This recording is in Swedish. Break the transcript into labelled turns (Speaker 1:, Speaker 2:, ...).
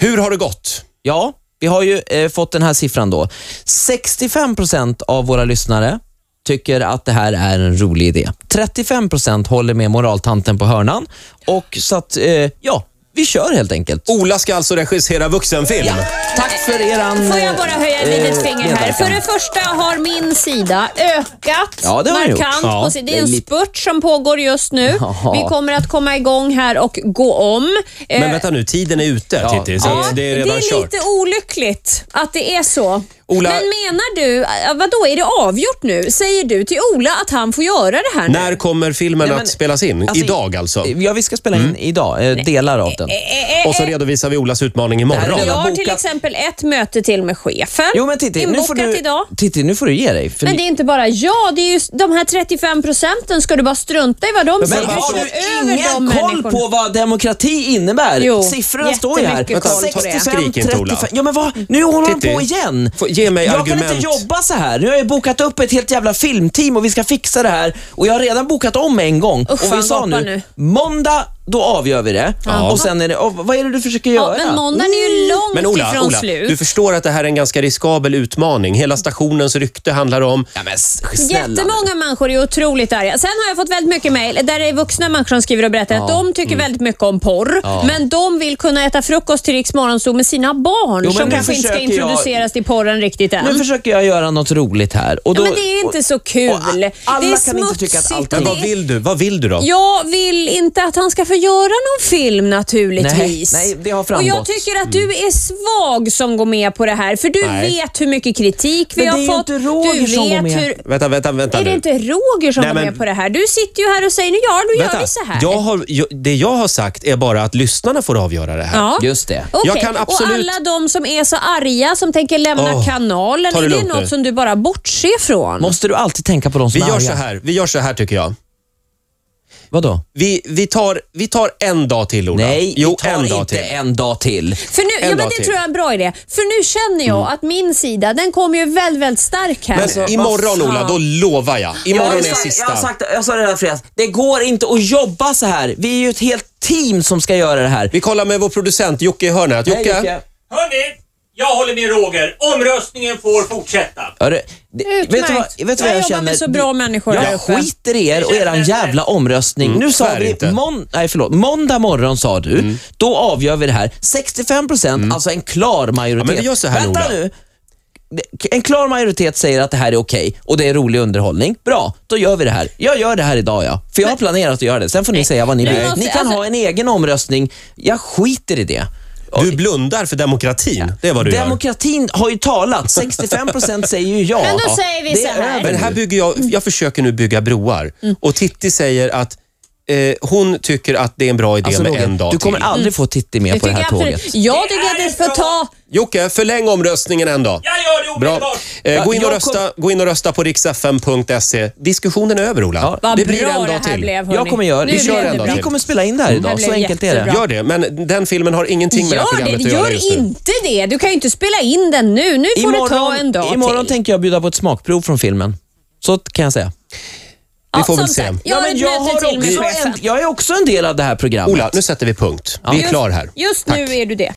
Speaker 1: Hur har det gått?
Speaker 2: Ja, vi har ju eh, fått den här siffran då. 65% av våra lyssnare tycker att det här är en rolig idé. 35% håller med moraltanten på hörnan. Och så att, eh, ja, vi kör helt enkelt.
Speaker 1: Ola ska alltså regissera vuxenfilm.
Speaker 2: Ja, tack för eran...
Speaker 3: Får jag bara höja ett litet
Speaker 2: eh,
Speaker 3: finger här?
Speaker 2: medverkan.
Speaker 3: För det första har min sida ökat
Speaker 2: Ja, det har den gjort.
Speaker 3: markant.
Speaker 2: Ja,
Speaker 3: på sig. Det
Speaker 2: det
Speaker 3: är
Speaker 2: är
Speaker 3: en
Speaker 2: lite-
Speaker 3: spurt som pågår just nu.
Speaker 2: Ja.
Speaker 3: Vi kommer att komma igång här och gå om. Eh,
Speaker 1: Men vänta nu, tiden är ute Titti, så
Speaker 2: ja,
Speaker 1: att det är redan
Speaker 3: det är
Speaker 1: kört.
Speaker 3: lite olyckligt att det är så.
Speaker 1: Ola-
Speaker 3: Men menar du, vad då är det avgjort nu? Säger du till Ola att han får göra det här nu?
Speaker 1: När kommer filmen
Speaker 2: Nej, men-
Speaker 1: att spelas in?
Speaker 2: Alltså,
Speaker 1: Idag alltså?
Speaker 2: Ja, vi ska spela in idag, eh, delar av den.
Speaker 3: Mm. Eh, eh,
Speaker 1: Och så
Speaker 3: eh,
Speaker 1: redovisar vi Olas utmaning
Speaker 2: här är
Speaker 1: imorgon.
Speaker 3: jag
Speaker 2: redan
Speaker 3: har
Speaker 2: bokat.
Speaker 3: till exempel ett möte till med chefen.
Speaker 2: Jo men Titti, nu
Speaker 3: Inbokat
Speaker 2: får du,
Speaker 3: idag.
Speaker 2: Titti, nu får du ge dig. För
Speaker 3: Men det är inte bara jag, det är ju de här 35 procenten ska du bara strunta i vad de säger.
Speaker 2: Men
Speaker 3: Du
Speaker 2: har
Speaker 3: kör
Speaker 2: du
Speaker 3: över de
Speaker 2: ingen koll
Speaker 3: människorna.
Speaker 2: på vad demokrati innebär?
Speaker 3: Jo,
Speaker 2: Siffrorna står ju här.
Speaker 3: jättemycket koll på det.
Speaker 2: 65,
Speaker 1: Skrik inte, Ola.
Speaker 2: 35. Ja, men vad? Mm. Nu håller hon
Speaker 1: Titti,
Speaker 2: på igen.
Speaker 1: få- ge mig
Speaker 2: jag kan
Speaker 1: argument.
Speaker 2: inte jobba så här. Nu har jag bokat upp ett helt jävla filmteam och vi ska fixa det här. Och jag har redan bokat om en gång.
Speaker 3: Usch,
Speaker 2: och vi
Speaker 3: fan,
Speaker 2: sa
Speaker 3: gapa
Speaker 2: nu,
Speaker 3: nu.
Speaker 2: måndag, då avgör vi det.
Speaker 1: Ja.
Speaker 2: Och sen är det, och vad är det du försöker
Speaker 3: Ja,
Speaker 2: göra?
Speaker 3: men måndagen är
Speaker 2: Mm.
Speaker 3: ju långt
Speaker 1: Men Ola,
Speaker 3: ifrån
Speaker 1: Ola
Speaker 3: slut.
Speaker 1: du förstår att det här är en ganska riskabel utmaning. Hela stationens rykte handlar om...
Speaker 2: ja, men s- snälla. nu.
Speaker 3: Jättemånga människor är otroligt arga. Sen har jag fått väldigt mycket mejl där det är vuxna människor som skriver och berättar att de tycker
Speaker 2: Mm.
Speaker 3: väldigt mycket om porr, men de vill kunna äta frukost till Riks Morgonzoo med sina barn
Speaker 2: Jo, men
Speaker 3: som
Speaker 2: nu
Speaker 3: kanske inte ska
Speaker 2: försöker jag-
Speaker 3: introduceras till porren riktigt än.
Speaker 2: Nu försöker jag göra något roligt här. Och då,
Speaker 3: ja, men det är inte så kul.
Speaker 2: och a- alla
Speaker 3: det är
Speaker 2: kan inte tycka att
Speaker 3: smutsigt
Speaker 2: allt är
Speaker 3: och
Speaker 1: Men
Speaker 3: det
Speaker 1: vad
Speaker 3: är
Speaker 1: vill du? Vad vill du då?
Speaker 3: Jag vill inte att han ska få göra någon film naturligtvis.
Speaker 2: Nej, nej, det har
Speaker 3: Och jag
Speaker 2: framgått.
Speaker 3: tycker att du är svag som går med på det här, för du
Speaker 1: Mm. Nej.
Speaker 3: vet hur mycket kritik vi
Speaker 2: Men det är ju
Speaker 3: har fått.
Speaker 2: inte Roger
Speaker 3: du
Speaker 2: som går med.
Speaker 3: Hur...
Speaker 1: Vänta, vänta, vänta
Speaker 3: Är det
Speaker 1: nu.
Speaker 3: inte Roger som
Speaker 1: Nej,
Speaker 3: går
Speaker 1: men-
Speaker 3: med på det här? Du sitter ju här och säger nu ja, då
Speaker 1: Vänta,
Speaker 3: gör vi så här.
Speaker 1: Jag har, jag, det jag har sagt är bara att lyssnarna får avgöra det här.
Speaker 3: Ja.
Speaker 2: Just det.
Speaker 3: Okej,
Speaker 1: Jag kan absolut-
Speaker 3: Och alla de som är så arga som tänker lämna
Speaker 1: Åh,
Speaker 3: kanalen,
Speaker 1: ta det
Speaker 3: är det
Speaker 1: lugnt
Speaker 3: något
Speaker 1: nu.
Speaker 3: som du bara bortser från?
Speaker 2: Måste du alltid tänka på de som
Speaker 1: Vi
Speaker 2: är
Speaker 1: gör
Speaker 2: arga?
Speaker 1: så här, vi gör så här tycker jag.
Speaker 2: Vadå?
Speaker 1: Vi, vi, tar, vi tar en dag till Ola.
Speaker 2: Nej,
Speaker 1: jo,
Speaker 2: vi tar
Speaker 1: en dag
Speaker 2: inte
Speaker 1: till.
Speaker 2: en dag till.
Speaker 3: För nu, ja,
Speaker 1: En
Speaker 3: men
Speaker 1: dag
Speaker 3: det
Speaker 1: till. Mm.
Speaker 3: tror jag är en bra idé. För nu känner jag att min sida, den kommer ju väldigt, väldigt stark här.
Speaker 1: Men
Speaker 3: Alltså, vad
Speaker 1: imorgon
Speaker 3: fan.
Speaker 1: Ola, då lovar jag. Imorgon
Speaker 2: jag,
Speaker 1: är
Speaker 2: har sagt-
Speaker 1: sista.
Speaker 2: Jag, har sagt, jag sa det redan fredags, det går inte att jobba så här. Vi är ju ett helt team som ska göra det här.
Speaker 1: Vi kollar med vår producent Jocke i hörnet. Jocke,
Speaker 2: Nej, Jocke.
Speaker 4: Hörni, jag håller med Roger. Omröstningen får fortsätta.
Speaker 2: Hörru, det, vet
Speaker 3: Utmärkt.
Speaker 2: du vad, vet du vad jag,
Speaker 3: jobbar
Speaker 2: känner?
Speaker 3: med så bra människor här
Speaker 2: Jag
Speaker 3: uppe.
Speaker 2: skiter i er och eran jävla omröstning. nu sa
Speaker 1: tyvärr
Speaker 2: vi,
Speaker 1: inte. Mm.
Speaker 2: mån, nej, förlåt, måndag morgon sa du, då avgör vi det här. 65 procent, alltså en klar majoritet.
Speaker 1: Ja, men vi gör så här,
Speaker 2: Vänta
Speaker 1: Ola.
Speaker 2: nu. Det- En klar majoritet säger att det här är okej och det är rolig underhållning. Bra, då gör vi det här. Jag gör det här idag ja. För jag har planerat att göra det. Sen får ni säga vad ni
Speaker 3: Nu
Speaker 2: vill.
Speaker 3: måste-
Speaker 2: Ni kan
Speaker 3: alltså-
Speaker 2: ha en egen omröstning. Jag skiter i det.
Speaker 1: du blundar för demokratin. Det är vad du gör.
Speaker 2: Demokratin har ju talat. 65 procent säger ju ja.
Speaker 3: Men då säger vi
Speaker 2: Det
Speaker 3: så
Speaker 2: är
Speaker 3: här.
Speaker 2: över
Speaker 1: Men
Speaker 2: nu.
Speaker 1: här bygger jag, jag försöker nu bygga broar.
Speaker 2: Mm.
Speaker 1: Och Titti säger att eh, hon tycker att det är en bra idé
Speaker 2: Alltså,
Speaker 1: med
Speaker 2: Roger,
Speaker 1: en dag
Speaker 2: du kommer
Speaker 1: till.
Speaker 2: aldrig få Titti med
Speaker 3: Mm. Jag
Speaker 2: på det
Speaker 3: tycker
Speaker 2: här
Speaker 3: absolut,
Speaker 2: tåget.
Speaker 3: jag tycker
Speaker 4: Det
Speaker 3: att
Speaker 4: är
Speaker 3: det får
Speaker 4: bra.
Speaker 3: ta...
Speaker 1: Jocke, förläng omröstningen en dag.
Speaker 4: Jag gör det
Speaker 1: Bra.
Speaker 4: omedelbart.
Speaker 1: Eh,
Speaker 2: Ja,
Speaker 1: gå, in och
Speaker 2: jag
Speaker 1: rösta, gå in och rösta på riksfm.se. E. Diskussionen är över, Ola.
Speaker 2: Ja,
Speaker 3: Vad
Speaker 1: det blir
Speaker 3: bra
Speaker 1: en
Speaker 3: det
Speaker 1: dag
Speaker 3: här
Speaker 1: till.
Speaker 3: blev hörni.
Speaker 2: Jag kommer göra
Speaker 3: Nu
Speaker 2: vi
Speaker 3: blev
Speaker 1: kör
Speaker 3: det
Speaker 1: en dag
Speaker 3: bra. Mm.
Speaker 2: Vi
Speaker 1: till.
Speaker 2: kommer spela in det här idag,
Speaker 3: Det
Speaker 2: så
Speaker 3: blev
Speaker 2: enkelt är det.
Speaker 3: jättebra.
Speaker 1: Gör det, men den filmen har ingenting med det här
Speaker 3: Gör
Speaker 1: programmet
Speaker 3: det,
Speaker 1: att göra just
Speaker 3: gör
Speaker 1: nu.
Speaker 3: inte det. Du kan ju inte spela in den nu. Nu får det ta en dag
Speaker 2: imorgon
Speaker 3: till.
Speaker 2: tänker jag bjuda på ett smakprov från filmen. Så kan jag säga.
Speaker 1: Vi får väl se.
Speaker 3: Jag har
Speaker 2: men
Speaker 3: ett
Speaker 2: jag,
Speaker 3: möte
Speaker 2: har
Speaker 3: till med
Speaker 2: också en,
Speaker 3: chefen.
Speaker 2: jag är också en del av det här programmet.
Speaker 1: Ola, nu sätter vi punkt. Vi är klara här.
Speaker 3: Just
Speaker 1: Tack.
Speaker 3: nu är du det.